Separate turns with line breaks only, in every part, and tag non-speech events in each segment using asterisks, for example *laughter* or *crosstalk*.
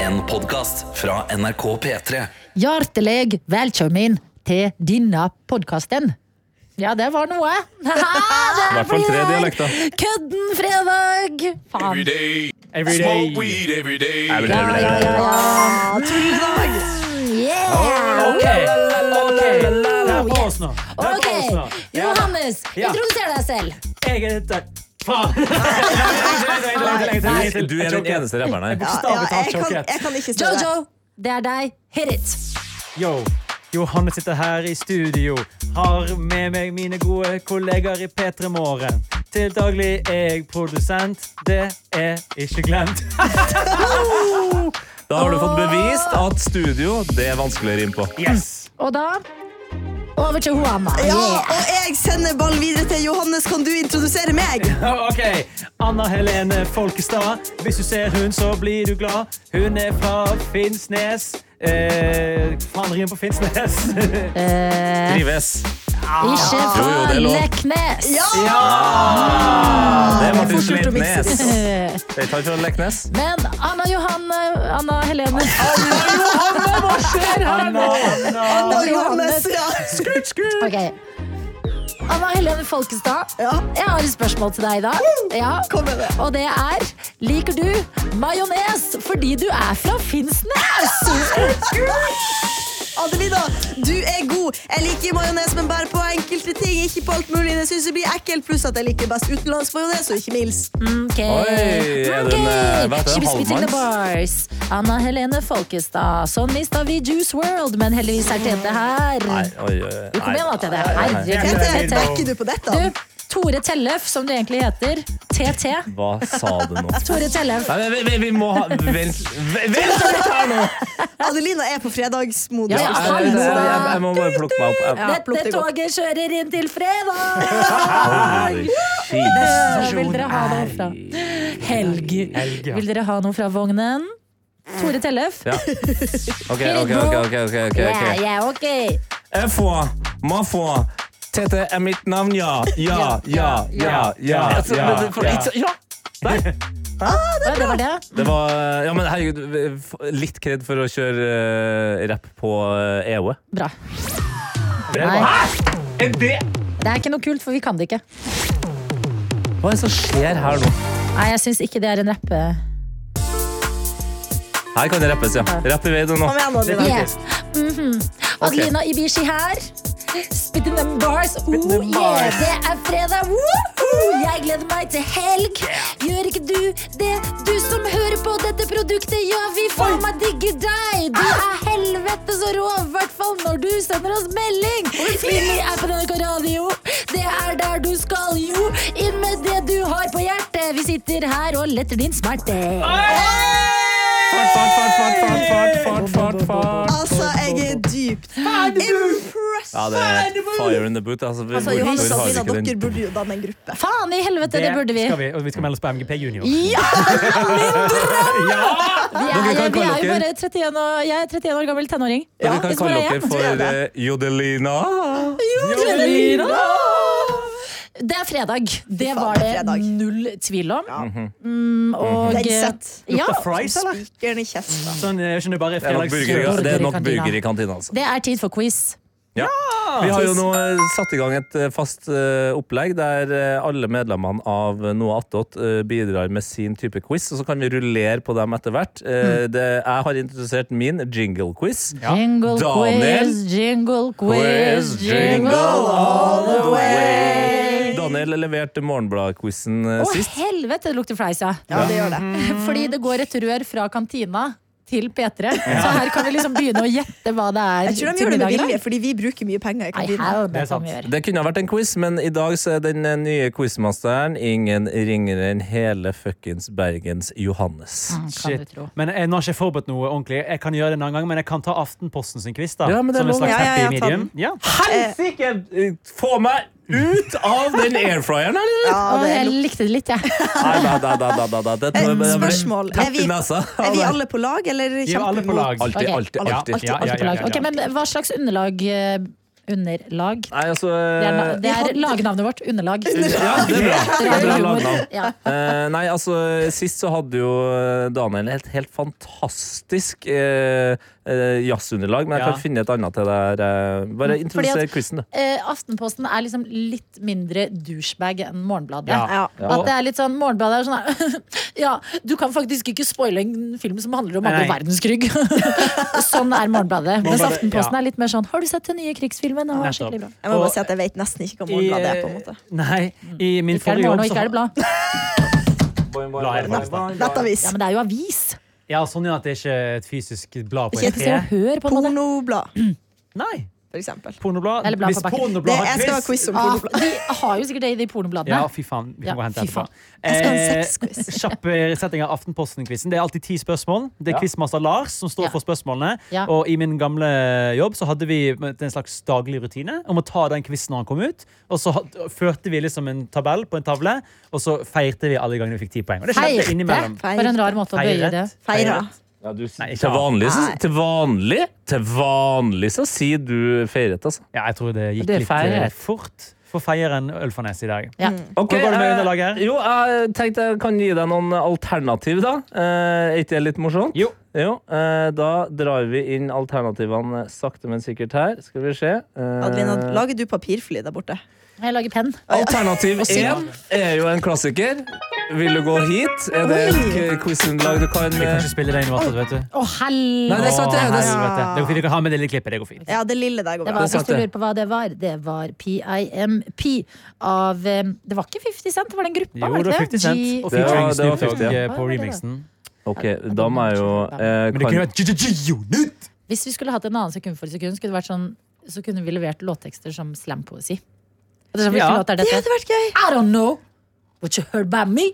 En podcast fra NRK P3
Hjertelig velkommen til denne podkasten. Ja, det var noe.
I hvert fall tre dialekter.
Kødden fredag! Faen.
Every day. Every day, every day.
Yeah!
Ok, la på oss nå. La
OK,
på oss nå.
Johannes,
Ja.
introduser deg selv.
Jeg er dette. *laughs* Faen! Nei, nei, nei, nei.
Du er den eneste rapperen her.
Ja,
Bokstavelig talt
jeg, kan, jeg
sjokkert.
kan ikke stå der.
Jojo, det er deg. Hit it.
Yo. Johanne sitter her i studio. Har med meg mine gode kollegaer i P3 Morgen. Til daglig er jeg produsent. Det er ikke glemt. *laughs*
Da har du fått bevist at studio det er vanskelig å rime på.
Yes!
Og da over til Hoanna.
Ja,
Yeah.
og jeg sender ballen videre til Johannes. Kan du introdusere meg?
Ok, Anna Helene Folkestad. Hvis du ser hun, så blir du glad. Hun er fra Finnsnes. Eh, faen, rim på Finnsnes. *laughs*
Eh,
Trives.
ikke
Jo, jo,
fra
det er lov.
Leknes.
Ja!
Det er Martin
fort gjort å
Sleipnes.
mikse.
Eh,
Det er ikke han fra Leknes.
Men Anna Johanne Anna Helene
Anna, Anna.
Og Johannes. Ja.
Ok Anna Helene Folkestad,
Ja.
jeg har et spørsmål til deg i dag. Ja.
Kom med det.
Og det er Liker du majones fordi du er fra Finnsnes?
Adelina, du er god. Jeg liker majones, men bare på enkelte ting. Ikke på alt mulig. Jeg syns det blir ekkelt. Pluss at jeg liker best utenlandsk majones, og ikke minst.
Okay.
Oi, er den, eh, hva heter den,
She was spitting the bars. Anna Helene Folkestad. Sånn mista vi Juice World, men heldigvis er Tete her.
Mm. Nei, oi, oi, oi.
Du kom igjen, da, Tete. Herregud,
Tete,
Tete.
backer du på dette?
Du, Tore Tellef, som du egentlig heter. TT.
Hva sa du nå?
Tore Tellef.
Nei, vi, vi, vi må ha Vent vent- vent litt her nå!
Adelina er på fredagsmodus.
Ja,
Jeg,
ja.
jeg, jeg, jeg må bare plukke meg opp. Jeg,
Dette
plukk det godt.
toget kjører inn til fredag!
*laughs* Herregud.
Vil dere ha noe fra Helg.
Helg, ja.
Vil dere ha noe fra vognen? Tore Tellef?
Ja. Ok, ok, ok. ok, ok, ok, ok.
Ja, ja, ok.
Jeg får, må få Tete er mitt navn, ja. Ja, ja, ja, ja.
Altså, men det- for- ikke-
Ja, det var det.
Det var Ja, men herregud, f- litt kred for å kjøre eh, rapp på eh, EOE.
Bra.
Det
Nei,
Er det?
det er ikke noe kult, for vi kan det ikke.
Hva er det som skjer her nå?
Nei, jeg syns ikke det er en rappe...
Her kan det rappes, ja. Rapp i vei du nå.
Kom igjen, Adelina.
Yeah. Mhm. Adelina Ibishi her. Spitting them bars. Oh, yeah. Det er fredag. Woohoo! Jeg gleder meg til helg. Gjør ikke du det? Du som hører på dette produktet, ja, vi faen meg digger deg. Du er helvete så rå, i hvert fall når du sender oss melding. Mini er på NRK Radio. Det er der du skal, jo. Inn med det du har på hjertet. Vi sitter her og letter din smerte.
Fart, fart, fart, fart, fart, fart, fart, fart, fart.
Altså, jeg er dypt impressed.
Ja, det er fire in the boot. Altså, hvor-
Altså,
hvorfor
Johannes og
har vi
Adelina,
ikke
dere
den?
burde jo danne en gruppe.
Faen i helvete, det burde vi.
skal vi. Og vi skal melde oss på MGP Junior.
Ja!
Ja!
Vi er,
Dere kan
vi er
kalle
jo
dere-
bare 31 og, jeg er 31 år gammel tenåring.
Dere kan
Hvis
kalle
bare
dere
jeg-
for
tror jeg det.
eh, Jodelina.
Jodelina! Det er fredag. Det
faen,
var
det er
det
fredag.
null tvil om. Mm, og
Den sett.
ja,
Lukter fries, eller?
Spikeren i kjeften.
Sånn, jeg skjønner bare
Det er nok burger i-
fredags...
det er nok
Burger i
burger i kantina, altså.
det er tid for quiz.
Ja. Vi har jo nå eh, satt i gang et eh, fast eh, opplegg der eh, alle medlemmene av Noe attåt eh, bidrar med sin type quiz, og så kan vi rullere på dem etter hvert. Eh, det, jeg har introdusert min jingle-quiz.
Jingle
Daniel.
quiz, jingle quiz, jingle
Daniel leverte Morgenblad-quizen eh,
Å,
sist.
helvete, det lukter fleis, ja.
Ja, det gjør det.
Mm. Fordi det går et rør fra kantina til P3. Så her kan vi liksom begynne å gjette hva det er.
Jeg tror de
til
gjør det med
middagen.
vilje, fordi vi bruker mye penger i
Nei,
kantina.
helvete,
Det er sant.
hva vi gjør.
Det kunne ha vært en quiz, men i dag så er den eh, nye quizmasteren ingen ringere enn hele fuckings Bergens Johannes.
Kan du tro.
Men jeg, nå har ikke jeg forberedt noe ordentlig. Jeg kan gjøre det en annen gang, men jeg kan ta Aftenposten sin quiz. da
Ja, men det er
Som en
lov.
slags
Ja, ja,
happy
ja, ta
medium. Ja.
Helsike! Få meg ut av den airfryeren, eller?
Ja,
Å,
det er
jeg likte det litt, jeg.
Nei, da, da, da, da, da, da. Det tror jeg bare-
Et spørsmål.
Tapp
Er vi-
i nesa.
Er vi alle på lag, eller
altså. Vi er alle på lag.
Alltid,
Ok.
alltid,
Ja,
alltid.
ja, ja, ja, ja.
Ok, men Hva slags underlag eh, Underlag.
Nei, altså
Det er, na- det er lagnavnet vårt.
*laughs*
Underlag.
Ja, det er bra. Det er bra
Radiohumor.
lagnavn.
Ja.
Eh, nei, altså Sist så hadde jo eh, Daniel et helt fantastisk eh, eh, jazzunderlag, men jeg
Ja.
kan finne et annet til deg. eh. Bare introduser
at-
quizen, du.
Eh, Aftenposten er liksom litt mindre douchebag enn Morgenbladet.
Ja.
Ja.
At det er litt sånn, Morgenbladet er sånn her, *laughs* Ja, du kan faktisk ikke spoile en film som handler om andre
Nei.
verdenskrig. *laughs* sånn er Morgenbladet. Mens
Morgenbladet,
Aftenposten
ja.
er litt mer sånn Har du sett den nye krigsfilmen? Den var
Nettopp.
skikkelig bra.
Jeg må
Og-
bare si at jeg vet nesten ikke hva morgenbladet er. på en måte
Nei, i min
Ikke er det
forrige
morgen, og
jobb så-
ikke er det blad.
Bladet er det beste.
Nettavis.
Ja, men det er jo avis.
Ja, sånn ja, at det er ikke et fysisk blad på
Ikke
en
et
Se og
tre.
hør, på en måte.
Pornoblad,
Nei,
for eksempel.
pornoblad.
Eller blad
Hvis
på bakken.
Det,
pornoblad har
jeg skal ha
quiz-
quiz om
Ah,
pornoblad.
de har jo sikkert det i de pornobladene.
Ja, fy faen. Vi kan
Ja,
gå og
fy
hente etterpå.
faen.
Jeg skal ha en
Eh, *laughs*
sexquiz.
Kjapp eh, setting av Aftenposten-quizen. Det er alltid ti spørsmål. Det
Ja.
er quizmaster Lars som står
Ja.
for spørsmålene.
Ja.
Og i min gamle jobb så hadde vi en slags daglig rutine om å ta den quizen når han kom ut. Og så had- førte vi liksom en tabell på en tavle, og så feirte vi alle gangene vi fikk ti poeng. Og det skjedde innimellom.
For en rar måte å bøye det.
Feira.
Ja, du, s-
Nei, ikke
til, vanlig, så,
Nei.
til vanlig Til vanlig så sier du feiret, altså.
Ja, jeg tror det gikk
Det er
litt eh,
feiret.
fort for feieren Ølfarnes i dag.
Ja.
Okay,
Hvordan går det med
eh,
underlaget her?
Jo, jeg tenkte jeg kan gi deg noen alternativ, da. Eh, ikke det litt morsomt?
Jo.
eh, da drar vi inn alternativene sakte, men sikkert her. Skal vi se. Eh,
Adelina, lager du papirfly der borte?
Jeg lager penn.
Alternativ
Og syng.
1 er jo en klassiker. Vil du gå hit? Er det et quizunderlag du kan
Vi kan
eh,
ikke spille det inn i hvert fall, vet du.
Å,
Nei,
helvete!
det er sant, det.
Å,
det er,
helvete. Det går fint. Du kan ha med det lille klippet. Det går fint.
Ja, det lille der
Det
går bra.
var, hvis
Det er sant,
du
det.
lurer på hva det var, det var PIMP av eh, Det var ikke 50 Cent, det var den gruppa?
Jo,
var
det var
det
50
ikke
Cent.
G-
Og
Det var-
featuring
det var
Snoop Dogg
50,
eh,
ja.
på remixen.
OK, da må jeg jo eh,
Men det kunne
kan,
vært G-G-G-Unit!
Hvis vi skulle hatt en annen sekund for sekund, skulle det vært sånn, så kunne vi levert låttekster som slampoesi. Det er sånn,
Ja.
Hvilken låt er
Det
dette?
hadde vært gøy!
I don't know what you heard about me.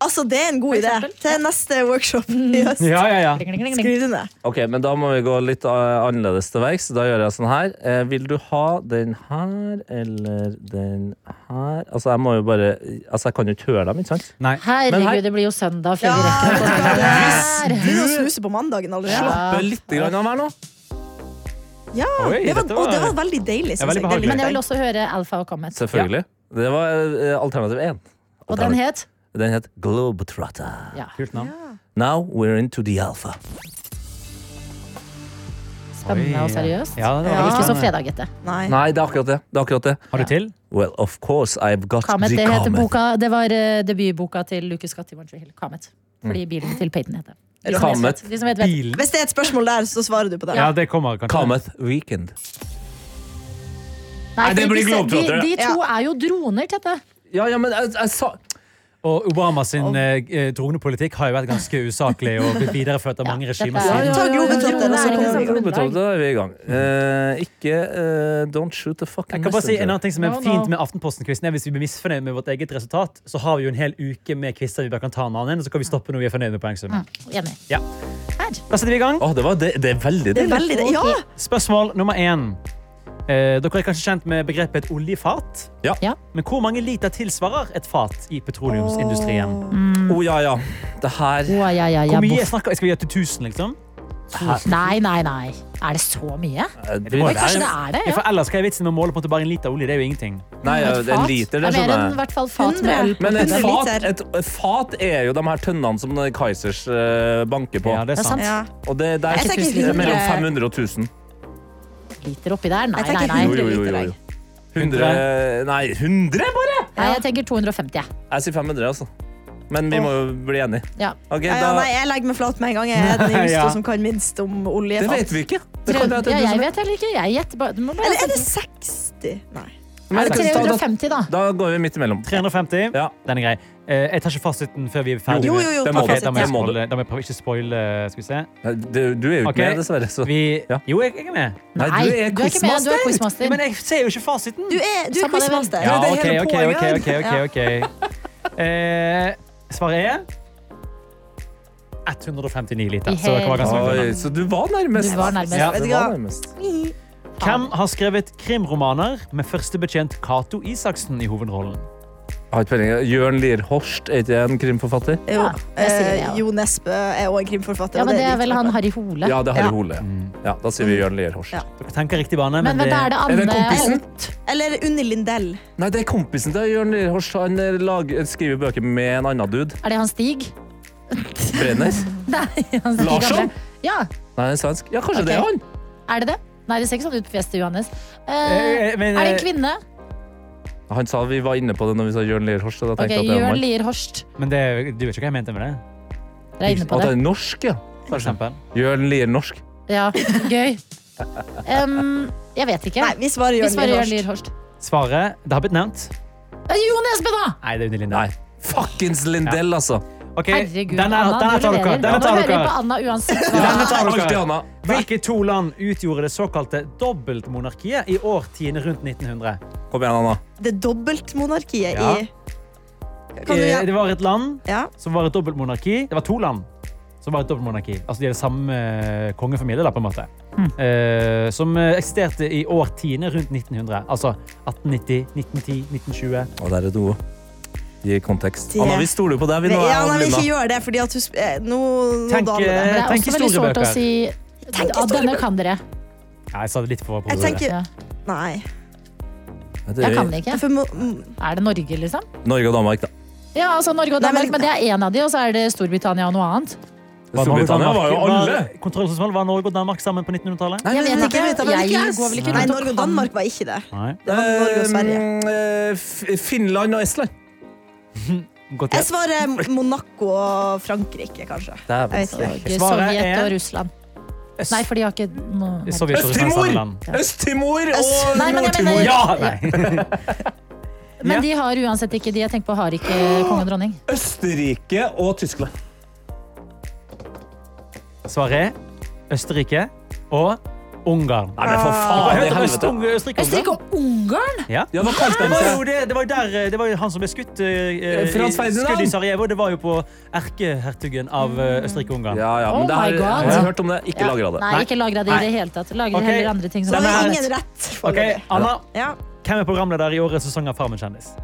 Altså, Det er en god idé
eksempel? Mm.
til neste workshop i høst.
Ja, ja, ja.
Kling, kling, kling, kling.
Skriv det ned.
Ok, men Da må vi gå litt eh, annerledes til verks. Da gjør jeg sånn her. Eh, vil du ha den her eller den her? Altså, jeg må jo bare Altså, jeg kan jo ikke høre dem, ikke sant?
Nei.
Men her-
Herregud, det blir jo søndag før
Ja,
vi rekker å ta det her.
Du snuser på mandagen allerede.
Eh,
Slappe litt grann av her nå.
Ja,
Oi,
det var,
dette var-
og det var veldig deilig.
Ja, veldig
Synes jeg. Det
behagelig.
likte
Men jeg vil
jeg.
også høre Alfa og Comet.
Selvfølgelig. Det var eh, alternativ én.
Og den het
Den het Globetrotter.
ja.
Kult navn.
Now we're into the alpha.
Spennende og seriøst.
Ja, det var
Men
veldig
Ikke så
spennende.
fredagete.
Nei.
Nei, det er akkurat det. det, er akkurat det.
Har du til?
Well, of course I've got
Comet,
the
det heter
Comet.
boka Det var eh, debutboka til Lucas Gatti Montreal Hill. Comet.
Mm.
Fordi bilen til Peyton heter det. De som vet,
Comet.
vet. De som vet, vet.
Bilen?
Hvis det er et spørsmål der, så svarer du på det.
Ja, det kommer kanskje.
Comet Weekend.
Nei,
det
fordi
blir
disse-
globetrotter,
De, de
ja.
to er jo droner, Tete.
Ja, ja, men jeg, jeg sa
Og Obama sin eh, eh, dronepolitikk har jo vært ganske usaklig og blitt
*laughs*
videreført av mange
Dette
regimer.
er-
siden.
Ta Globetrotter,
Droner
og så
er ikke
kommer
Mm.
vi i
sånn
Globetrotter,
grunnlag.
da er vi i gang. Eh, ikke eh, Don't shoot the fucking
Jeg kan bare si en
messenger.
annen ting som er
No, no.
fint med Aftenposten-quizen. er Hvis vi blir misfornøyd med vårt eget resultat, så har vi jo en hel uke med quizer vi bare kan ta en annen, og så kan vi stoppe når vi er fornøyd med
Mm.
poengsummen.
Enig.
Ja.
Her.
Da setter vi i gang.
Åh, det, var, det, det er veldig
Det er
deilig.
veldig det. Ja!
sånn
Spørsmål nummer én. Eh, dere er kanskje kjent med begrepet et oljefat?
Ja.
Ja.
Men hvor mange liter tilsvarer et fat i petroleumsindustrien?
Å ja, ja. Det her
Å, ja, ja, ja,
Hvor mye
boff.
jeg snakker jeg? Skal vi gjøre til 1000, liksom?
Nei, nei, nei. Er det så mye?
eh, det
må
Men kanskje det er det?
Ja.
Ja.
For ellers hva er vitsen med å måle på en måte bare en liter olje? Det er jo ingenting.
Nei, ja, det er en liter, det
det er mer enn i
skjønner jeg.
hvert fall fat med øl.
Hundre.
Men et
100
fat,
liter.
et, et fat er jo de her tønnene som Kaizers banker på.
Ja,
Det
det er
er sant.
sant.
ja.
Og det, det er
Jeg tenker
det er mellom
100.
500 og 1000.
Liter oppi der? Nei, nei,
Jeg tenker
nei.
Jo,
hundre.
jo, jo, jo, jo. 100 Nei, 100 bare!
nei jeg tenker 250, jeg.
Jeg sier 500, altså. Men vi må jo bli enige.
Ja.
Ok,
Ja, ja,
da,
nei, jeg legger meg flat med en gang. Jeg
*laughs*
er den
Ja.
eneste som kan minst om
det
oljefat.
vet vi ikke. Det
Ja,
kan være at det er du
jeg
som-
vet heller ikke. Jeg gjetter bare. Du må bare
sånn- Eller er det 60? Nei.
Men
er det
da- da-
350, da?
Da går vi midt imellom.
350.
Ja.
Den er grei. Eh, jeg tar ikke fasiten før vi er ferdig.
Jo,
med-
jo, jo.
Det
ta
må
Ok,
fasit.
da må jeg
Det må du.
spoile- da må jeg prøve ikke spoile. Skal vi se.
Du, du er jo ikke
Ok.
med, dessverre. Så.
Vi,
Ja.
jo, jeg, jeg er
Nei,
med.
du er
du er ikke med. Du er
quizmaster.
Ja,
quizmaster.
Men jeg ser jo ikke fasiten.
Du er, du er
Samme det vel.
quizmaster.
Ja,
det er
ok,
hele
ok,
poenget
ok,
her.
ok, ok, ok. Eh, svaret er 159 liter. Så dere var ganske langt unna.
Oi, så du var nærmest.
Du var nærmest.
Ja.
Ja, du var nærmest.
Hvem har skrevet krimromaner med førstebetjent Cato Isaksen i hovedrollen?
har ikke peiling. Jørn Lier Horst, er ikke det en krimforfatter?
Jo,
Ja, jeg sier det,
eh,
ja.
Jo Nesbø er òg en krimforfatter.
Ja,
og
men det
liker
er sånn. vel
jeg
han
godt.
Harry Hole.
Ja, det er Harry
Ja.
Hole. Ja, da
Mm.
sier vi Jørn Lier Horst.
Ja.
Dere tenker riktig bane, men,
Men hvem er det
Er det
Anne
kompisen?
Eller Unni Lindell.
Nei, det er kompisen til Jørn Lier Horst. Han eh, lager, skriver bøker med en annen dude.
Er det han Stig?
Brenner.
*laughs* Nei, han Stig
Larsson?
Hamre. Ja,
Nei, han er svensk. Ja, kanskje
Ok.
det er han.
er det det? Nei, det ser ikke sånn ut på fjeset, Johannes. Eh,
Eh, men,
er det
eh,
en kvinne?
Han sa vi var inne på det når vi sa Jørn Lier Horst. og Da
Ok,
tenkte jeg at det var
Jørn
han.
Lier Horst.
men det, er jo- du vet ikke hva jeg mente med det?
Dere er inne på
At
det.
han er norsk, ja.
For eksempel.
Jørn Lier norsk.
Ja, gøy. Em, jeg vet ikke.
Nei, vi svarer
Vi
Jørn
svarer Jørn
Lier
Lier Horst.
Svaret Det har blitt nevnt.
Eh, Jo Nesbø, da!
Nei, det er Unni Lindell.
Nei. Fuckings Lindell, altså.
Ok,
Herregud,
denne,
Anna,
denne
du
tar dere.
leverer.
Denne
Nå
tar
hører vi på
dere.
Anna uansett hva.
Denne tar dere.
Alltid Anna.
Hvilke to land utgjorde det såkalte dobbeltmonarkiet i årtiene rundt 1900?
Kom igjen, Anna.
Horst. Det dobbeltmonarkiet
Ja.
i Kan du
Eh,
gjøre
Det var et land
Ja.
som var et dobbeltmonarki. Det var to land som var et dobbeltmonarki. Altså de er det samme eh, kongefamilie, da, på en måte. Eh, som eh, eksisterte i årtiene rundt 1900. Altså 1890, 1910, 1920.
Og der er det ord. Gi kontekst.
Det-
Anna, vi stoler på deg. Vi nå,
Ja, nei, men
Adelina.
ikke gjør det, fordi at hun sp- eh, Nå, nå
Tenk,
daler
eh,
det.
Det er
Tenk
også veldig sårt å
historiebøker.
si ja, denne kan dere.
Ja, jeg sa det litt for
Jeg tenker
Ja.
Nei.
Jeg kan det ikke.
For, må- mm,
Er det Norge, liksom?
Norge og Danmark, da.
Ja, altså Norge og
Nei,
Danmark,
men-
men det er én av de, og så er det Storbritannia og noe annet.
Storbritannia var jo alle.
Kontrollspørsmål var Norge og Danmark sammen på 1900-tallet?
Jeg vet ikke.
vet jeg vel
Jeg
ikke.
går vel ikke
Nei,
rundt og
Norge
kan-
og Danmark var ikke det.
Nei.
Det var Norge og Sverige.
Mm, eh, F- Finland og Estland.
Godt
Jeg
gjort.
svarer Monaco og Frankrike, kanskje.
Dæven.
Jeg vet ikke.
Norge,
Svaret
Sovjet
er-
og Russland. Nei, for de har ikke noe
Sovjet og Russland
Øst-Timor!
samme land.
Øst-Timor
Øst-
og
Nei, men jeg
Nord-Timor.
mener-
Ja,
Ja! Nei.
Men de har uansett ikke de jeg tenker på, har ikke konge og dronning.
Østerrike og Tyskland.
Svaret er Østerrike og Ungarn.
Nei, men for
Jeg
faen
har
i
hørt om
helvete.
Øst- Østerrike og Ungarn.
Østerrike og Ungarn?
Ja.
Ah. Ja, hva kalte
Det
de
var
seg?
jo det, det var jo der, eh, det var jo han som ble skutt eh, eh,
Franz
i-
Ferdinand.
skudd i Sarajevo. Det var jo på erkehertugen av
Mm.
eh, Østerrike-Ungarn.
Ja, ja, men
Oh
det her,
my God.
jeg har hørt om det. Ikke
Ja.
lagra det.
Nei, ikke lagra det i det hele tatt. Lager
Ok.
heller andre ting.
Så
Som
det var
Nei.
ingen rett.
Ok,
foreløpig.
Anna,
Ja.
hvem er programleder i årets sesong av Farmen kjendis?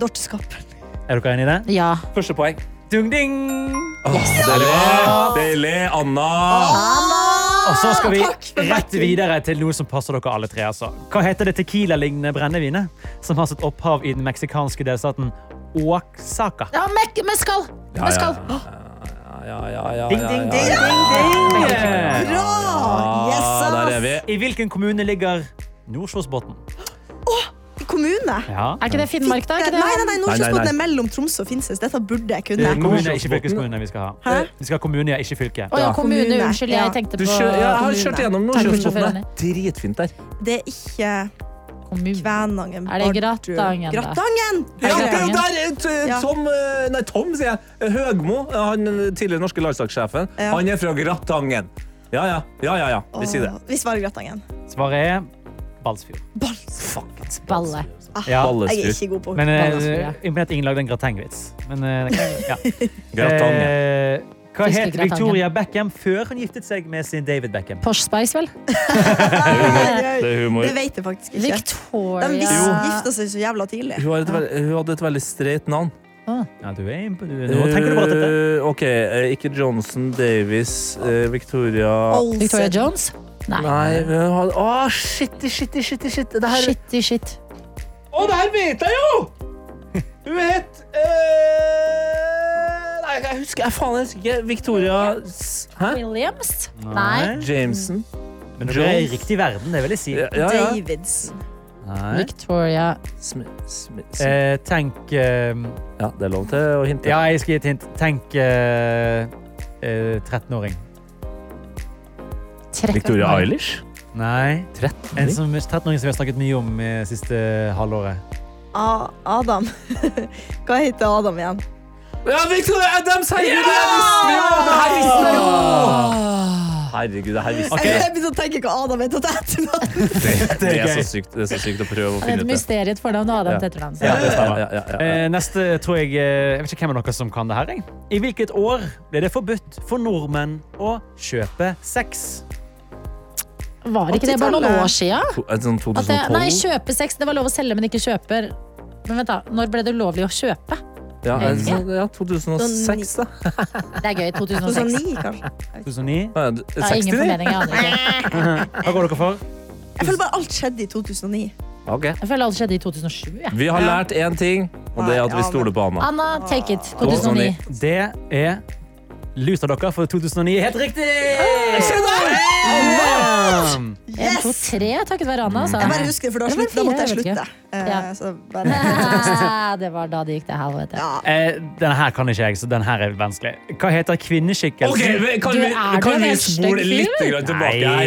Dorteskap.
Er dere enige i det?
ja.
Første poeng.
Dung ding!
Deilig. Deilig. Anna.
Og så skal
Ah, Takk for
vi rett
backen.
videre til noe som passer dere alle tre. Altså. Hva heter det tequila-lignende brennevinet som har sitt opphav i den meksikanske delstaten Oaxaca?
ja mek meskal!
Ja, ja,
Meskal.
Ja, ja, ja,
Ding,
ja,
ding,
ja, ja.
Yeah.
Bra! Yes,
Ah,
ass.
Der er vi.
I hvilken kommune ligger Nordkjosbotn?
Kommune?
Ja.
Er ikke det Finnmark, da? Er ikke det?
Nei, nei, nei,
Nei, nei,
Nordkjosbotn
nei.
er mellom Tromsø og Finnsnes. Dette burde jeg
Det er
kunne.
kommune, ikke fylkeskommune vi skal ha.
Hæ?
Vi skal ha kommune, ja, ikke fylke.
Å ja, kommune.
Kommune.
Unnskyld,
Ja.
jeg tenkte
Du
på
kjø ja, jeg har
kommune.
kjørt gjennom
Takk for
Nordsjøsbotn.
sjåføren.
Dritfint der.
Det er ikke
Kommune.
Kvænangen.
Er det
Bardu.
Gratangen, da?
Gratangen!
Ja, det er jo
Høgmo.
der eh, t-
Ja.
Tom eh, Nei, Tom, sier jeg. Eh, Høgmo, eh, han eh, tidligere norske landslagssjefen,
Ja.
han er fra Gratangen. Ja, ja. ja, ja, ja. Vi sier det.
Åh, Vi svarer Gratangen.
Svaret er Balsfjord.
Bals.
Fuckings
Balle.
Ja.
Jeg er
Ballestur.
ikke god
*laughs*
på
Men
Balsfjord, ja.
eh, imponert at ingen lagde en gratengvits. Men, eh, det kan- ja.
Gratangen.
Eh, hva het
Fiskegratangen.
Victoria Beckham før hun giftet seg med sin David Beckham?
Posh Spice, vel?
Det
Eh, Det er humor.
vet jeg faktisk ikke.
Victoria
De vis- gifta seg så jævla tidlig.
Hun hadde et, veld- hun hadde et veldig streit navn.
Ja, du er imp- du- Nå tenker du bare at dette.
Eh, OK, eh, ikke Johnson, Davis, eh, Victoria
Olsen.
Victoria Jones? Nei.
Nei, men hun hadde Å, shitty, shitty, shitty, shitty. Det her
Shitty shit.
Å, det her vet jeg jo! Hun het eh, Nei, jeg husker jeg faen jeg husker ikke. Victoria S- Hæ?
Williams? Nei.
Jameson.
Men du er i riktig verden, det vil jeg si.
Ja, ja. ja.
Davidsen.
Nei.
Victoria
Sm sm sm
Eh, tenk eh,
ja, det er lov til å hinte.
Ja, jeg skal gi et hint. Tenk eh, eh, 13-åring.
13.
Victoria Eilish?
Nei.
13?
En som, 13-åring som vi har snakket mye om eh, siste halvåret.
A- Adam. *laughs* Hva heter Adam igjen?
Ja, Victoria Adams! Herregud, det visste jo! Det her visste jeg
Ah!
jo! Herregud, det her visste
Jeg,
jeg.
jeg begynte å tenke hva Adam *laughs* het til etternavn.
Det er
gøy.
så sykt, det er så sykt å prøve å
Det er
finne
et
ut det.
mysterium for navn og Adam
Ja.
til etternavn. så-
Ja, det stemmer. Ja, ja, ja, ja.
Eh, neste tror jeg eh, Jeg vet ikke hvem av dere som kan det her. Jeg. I hvilket år ble det forbudt for nordmenn å kjøpe sex?
Var ikke det bare noen
80-tallet.
år sia?
To- En sånn
At det, nei,
2012?
kjøpe sex. Det var lov å selge, men ikke kjøper. Men Men vent da, når ble det ulovlig å kjøpe?
Ja, altså, ja 2006, da.
Det er gøy. 2006.
2009, kanskje.
2009.
Ja,
Jeg har ingen
69?
formening. Jeg aner ikke.
Hva går dere for?
Jeg føler bare alt skjedde i 2009.
Ok.
Jeg føler alt skjedde i 2007. Jeg.
Vi har lært én ting, og det er at vi stoler på Anna.
Anna, take it. 2009.
Det er lus av dere, for 2009 er helt riktig! Anna!
En, to, tre, takket være Anna. sa
Jeg
han. *laughs*
bare husker det, for da,
Det var
slutt, da måtte jeg
fire, jeg vet
slutte. Eh,
Ja.
så bare,
*laughs* Ah, Det var da det gikk til helvete.
ja.
Eh, denne her kan ikke jeg, så denne her er vanskelig. Hva heter kvinneskikkelsen?
Ok, men kan
Du,
vi,
er du
kan
en
vi
hashtag-fyr,
spole litt
eller?
grann tilbake
Nei,
her?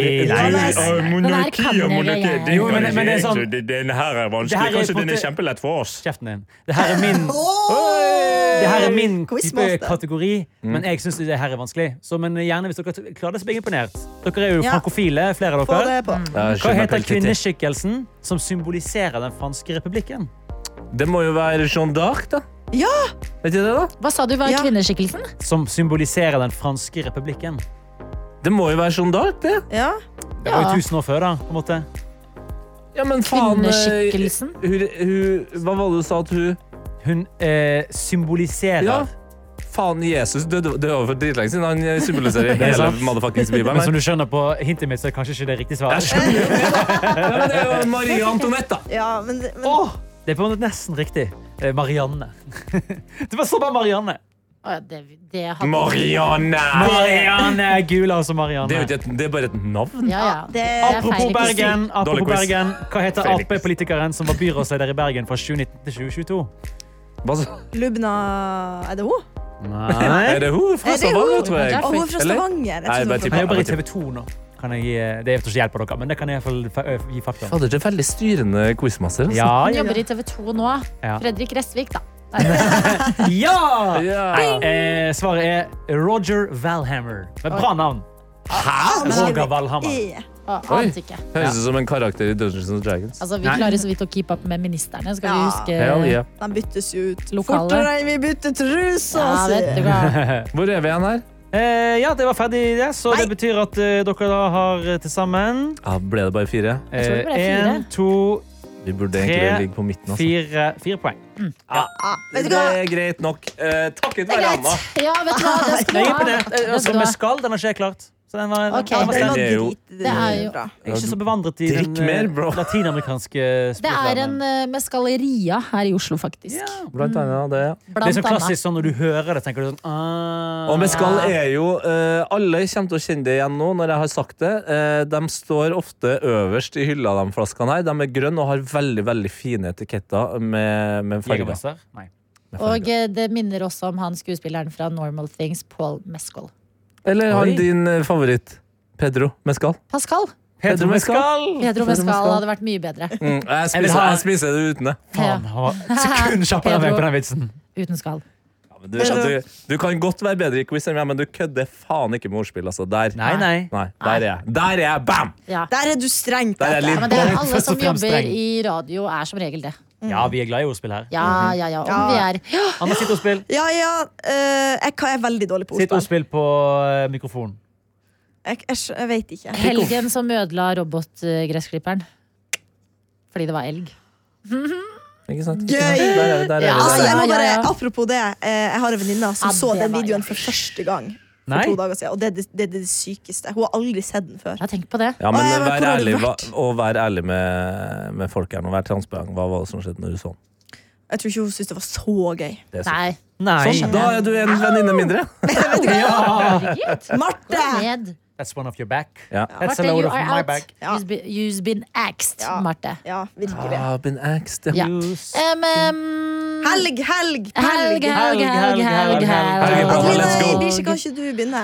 Nei,
nei, nei.
å,
Den her
Monarki
kan
og monarki.
jeg.
Det er
Jo, men-
kanskje
men det er
ikke-
sånn-
det- Den her er
Det her er
vanskelig. Kanskje
på en
den er
måte-
kjempelett for oss.
Kjeften din. Det her er min
Åh!
Det her er min type
Quizmaster.
kategori,
Mm.
men jeg syns det her er vanskelig. Så, men gjerne hvis dere t- klarer det, så blir jeg imponert. Dere er jo
Ja. eh,
frankofile, flere av
Få det
dere.
på.
Hva heter kvinneskikkelsen som symboliserer den franske republikken?
Det må jo være Jeanne d'Arc, da.
Ja!
Vet du det, da?
Hva sa du var
Ja.
kvinneskikkelsen?
Som symboliserer den franske republikken.
Det må jo være Jeanne d'Arc, det.
Ja.
Det var
Ja.
jo tusen år før, da. på en måte.
Ja, men faen eh,
Kvinneskikkelsen?
Hun, hun, hva var det du sa at hun
Hun eh, symboliserer
Ja. Faen, Jesus døde, døde over for dritlenge siden. Han eh,
*laughs*
symboliserer hele
sant.
motherfuckings Bibelen.
Men som
her.
du skjønner på hintet mitt, så er kanskje ikke det riktig svar.
Jeg skjønner jo det, da. Ja, men det er jo Marie Antoinette, da.
ja, men, men
Det er på en måte nesten riktig. Eh, Marianne. *laughs* det var så bare Marianne.
Å, ja, det, det hadde...
Marianne!
Marianne er gul, altså Marianne.
Det er jo ikke et, det er bare et navn.
Ja, ja.
det
er feil
Apropos
ikke å si.
Bergen,
Dårlig
apropos
quiz.
Bergen, hva heter
Feil ikke å si.
Ap-politikeren som var byrådsleder i Bergen fra 2019 til 2022?
Hva så?
Lubna Er det hun?
Er det hun fra
Er Eh, det hun?
Stavanger, tror jeg?
Å, hun er fra
Eller?
Stavanger.
Nei,
Jeg trodde
bare
hun
Han jobber
var
i TV 2 nå. Kan jeg, gi- det er ikke hjelp av dere, men det kan jeg i hvert fall fa- gi fakta om.
Fader, det er veldig styrende quizmaster. Altså.
Ja,
Han
ja,
jobber i TV 2 nå.
Ja.
Fredrik Resvik, da.
ja!
Ja.
Eh, svaret er Roger Valhammer. Med bra navn.
fra-
Hæ? Roger Valhammer.
Eh,
Å,
Oi.
Ante ikke.
Høres ut som en karakter i Dungeons and Dragons.
Altså, vi
Nei.
klarer så vidt å keep up med ministerne. Skal vi
Ja.
huske
Hell yeah.
De byttes jo ut
Lokale.
fortere enn vi bytter trusa!
Ja, vet du
sier.
hva.
Hvor er vi igjen her?
Eh, ja, det var ferdig det, så
Nei.
det betyr at eh, dere da har eh, til sammen
Ja, ble det bare fire?
tror det
eh,
ble
en,
fire.
to,
Vi burde
Tre,
egentlig ligge på midten. Altså.
fire, fire poeng.
Ja, vet du
Det
hva?
er greit nok. Eh, takket være
greit.
Anna.
Ja, vet du hva. Det
*laughs*
skal du
Jeg er
ha.
imponert. Eh,
Det
Altså,
skal du
med
ha.
skall, den har ikke jeg klart. Så den var, den
Ok.
var
Det
sterk.
var
Det er jo-
drit. Det
er
er
jo-
jo bra.
Jeg er ikke så bevandret i den
Drikk mer,
eh,
bro.
latinamerikanske
Det er en
språkverdenen.
eh, mescaleria her i Oslo, faktisk.
Ja.
Blant annet det.
Det er
Blant
sånn klassisk
annet.
sånn når du hører det, tenker du sånn ah.
Og Mescal er jo eh, Alle kommer til å kjenne det igjen nå når jeg har sagt det. Eh, de står ofte øverst i hylla, de flaskene her. De er grønne og har veldig veldig fine etiketter med, med farger.
Jegermeister? Nei.
Med
Og
farger.
eh, det minner også om han skuespilleren fra Normal Things, Paul Mescal.
Eller
Oi.
han din eh, favoritt. Pedro Mescal.
Pascal!
Pedro
Pedro Mescal!
Pedro Mescal hadde vært mye bedre.
Mm, jeg,
vil
spiser,
ha-
jeg spiser det uten det.
Faen, han var sekund kjappere enn meg på den vitsen.
Uten skall.
Du, skjønner, du, du kan godt være bedre i quiz enn meg, men du kødder faen ikke med ordspill. Altså. Der.
Nei, nei.
Nei, der er jeg. Der er jeg! Bam!
Ja.
Der er du strengt.
Der er
Petter.
jeg
Ja, men
litt
det er
Bare
alle
først
som
og fremst
jobber
streng.
i radio, er som regel det.
Ja, vi er glad i ordspill her.
Ja, ja, ja. Om vi
Ja.
er ja,
Anna, sitt ordspill.
Ja, ja. eh, jeg, kan- jeg er veldig dårlig på
Sitt
ordspill.
ordspill på eh, mikrofon.
Jeg, jeg, skj- jeg vet ikke.
helgen som ødela robotgressklipperen fordi det var elg.
Ikke sant? Der
Gøy!
er vi, der er
Ja,
Altså,
vi,
jeg må
ja,
bare,
ja, ja.
Apropos det. eh, Jeg har en venninne som
Ja,
så
det
den
var
videoen
jeg.
for første gang. For
Nei.
to dager siden, og det er det, det er det sykeste. Hun har aldri sett den før.
Ja, tenk på det.
Ja, men
Å, jeg vet
vær
hvor har du
ærlig, hva,
vært?
og vær ærlig med, med folk her nå. Vær transparent. Hva var det som skjedde når du så den?
Jeg tror ikke hun syntes det var så gøy.
Det er så-
Nei.
Nei.
Sånn, da er du en venninne mindre.
Herregud.
Marte!
Gå Ned.
That's one of your back.
Ja.
That's a
Marte,
load
you
of
are
my
out.
back.
Ja.
You've been, you've been axed,
Ja.
Marte.
Ja, virkelig.
Ah, been axed,
Ja.
ja.
Em, em,
Helg, helg,
um, helg, helg,
helg!
helg, helg,
Helg,
helg.
bra, let's
Adeline
go.
Ibishi, kan ikke du begynne?